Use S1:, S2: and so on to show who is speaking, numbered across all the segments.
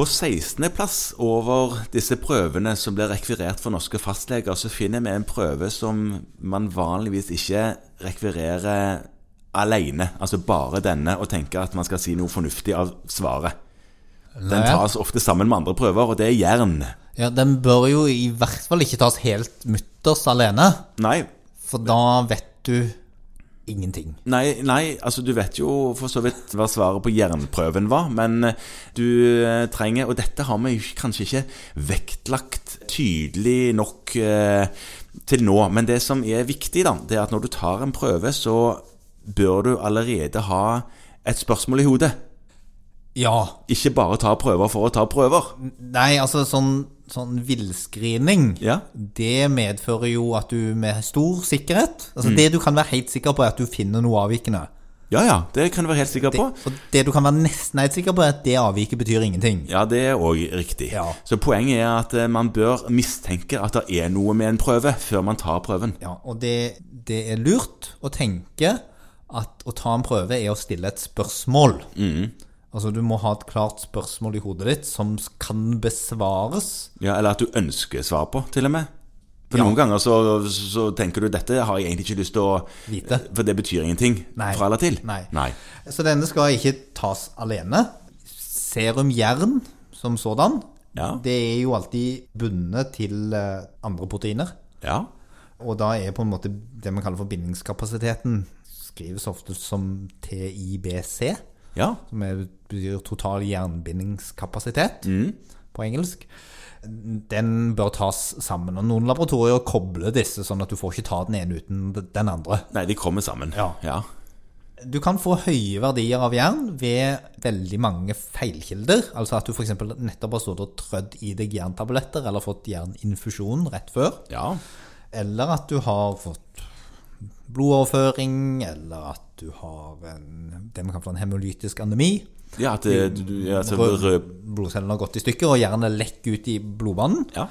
S1: På 16.-plass over disse prøvene som blir rekvirert for norske fastleger, så finner vi en prøve som man vanligvis ikke rekvirerer alene, altså bare denne, og tenker at man skal si noe fornuftig av svaret. Den
S2: Nei.
S1: tas ofte sammen med andre prøver, og det er jern.
S2: Ja, den bør jo i hvert fall ikke tas helt mutters alene,
S1: Nei,
S2: for da vet du ingenting.
S1: Nei, nei, altså du vet jo for så vidt hva svaret på jernprøven var, men du eh, trenger, og dette har vi jo kanskje ikke vektlagt tydelig nok eh, til nå, men det som er viktig da, det er at når du tar en prøve, så bør du allerede ha et spørsmål i hodet.
S2: Ja.
S1: Ikke bare ta prøver for å ta prøver.
S2: Nei, altså sånn, sånn villscreening,
S1: Ja.
S2: det medfører jo at du med stor sikkerhet
S1: Mm.
S2: Altså det du kan være helt sikker på, er at du finner noe avvikende.
S1: Ja, ja, det kan du være helt sikker på.
S2: Og det du kan være nesten helt sikker på, er at det avviket betyr ingenting.
S1: Ja, det er òg riktig.
S2: Ja.
S1: Så poenget er at eh, man bør mistenke at det er noe med en prøve, før man tar prøven.
S2: Ja, og det, det er lurt å tenke at å ta en prøve er å stille et spørsmål. Altså du må ha et klart spørsmål i hodet ditt som kan besvares.
S1: Ja, eller at du ønsker svar på, til og med. For noen ganger så, så tenker du dette har jeg egentlig ikke lyst til å
S2: Vite.
S1: For det betyr ingenting
S2: Nei.
S1: fra eller til.
S2: Nei. Så denne skal ikke tas alene. Serum jern som sådan,
S1: Ja.
S2: det er jo alltid bundet til eh, andre proteiner.
S1: Ja.
S2: Og da er på en måte det man kaller for bindingskapasiteten skrives ofte som TIBC.
S1: ja.
S2: som er, betyr total jernbindingskapasitet på engelsk, den bør tas sammen. Og noen laboratorier kobler disse, sånn at du får ikke ta den ene uten den andre.
S1: Nei, de kommer sammen.
S2: Ja.
S1: ja.
S2: Du kan få høye verdier av jern ved veldig mange feilkilder. Altså at du f.eks. nettopp har stått og trødd i deg jerntabletter eller fått jerninfusjon rett før.
S1: Ja.
S2: Eller at du har fått blodoverføring, eller at du har en, det man kan få en hemolytisk anemi.
S1: Ja, at eh, du, du altså, rød
S2: blodcellene har gått i stykker, og jernet lekker ut i blodbanen.
S1: Ja.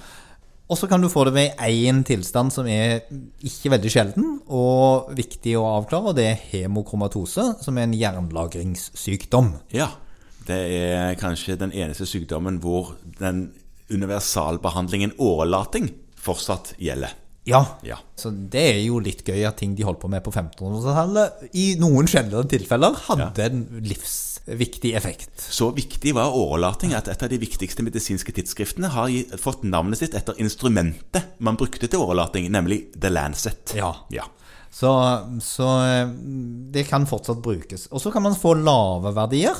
S2: Og så kan du få det ved én tilstand som er ikke veldig sjelden og viktig å avklare, og det er hemokromatose, som er en jernlagringssykdom.
S1: ja. Det er kanskje den eneste sykdommen hvor den universalbehandlingen årelating fortsatt gjelder.
S2: Ja.
S1: Ja.
S2: Så det er jo litt gøy at ting de holdt på med på 1500-tallet, i noen sjeldne tilfeller hadde en livsviktig effekt.
S1: Så viktig var årelating at et av de viktigste medisinske tidsskriftene har gi- fått navnet sitt etter instrumentet man brukte til årelating, nemlig The Lancet.
S2: Ja.
S1: Ja.
S2: Så, så eh, det kan fortsatt brukes. Og så kan man få lave verdier.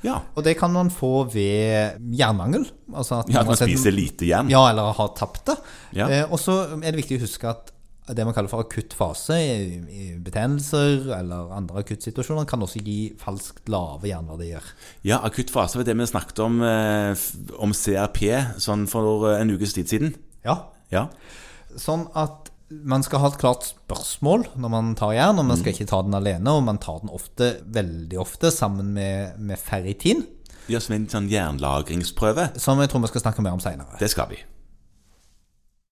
S1: Ja,
S2: Og det kan man få ved jernmangel. Altså at
S1: ja at
S2: har
S1: man
S2: sett-
S1: spiser lite jern.
S2: Ja, eller har tapt det.
S1: Ja.
S2: Eh, og så er det viktig å huske at det man kaller for akutt fase, i- i betennelser eller andre akuttsituasjoner, kan også gi falskt lave jernverdier.
S1: Ja, akutt fase var det vi snakket om, eh, f- om CRP sånn for eh, en ukes tid siden.
S2: Ja.
S1: Ja.
S2: Sånn at man skal ha et klart spørsmål når man tar jern, og man
S1: Mm.
S2: skal ikke ta den alene, og man tar den ofte, veldig ofte, sammen med, med ferritin,
S1: Ja, som en sånn jernlagringsprøve.
S2: som jeg tror vi skal snakke mer om seinere.
S1: Det skal vi.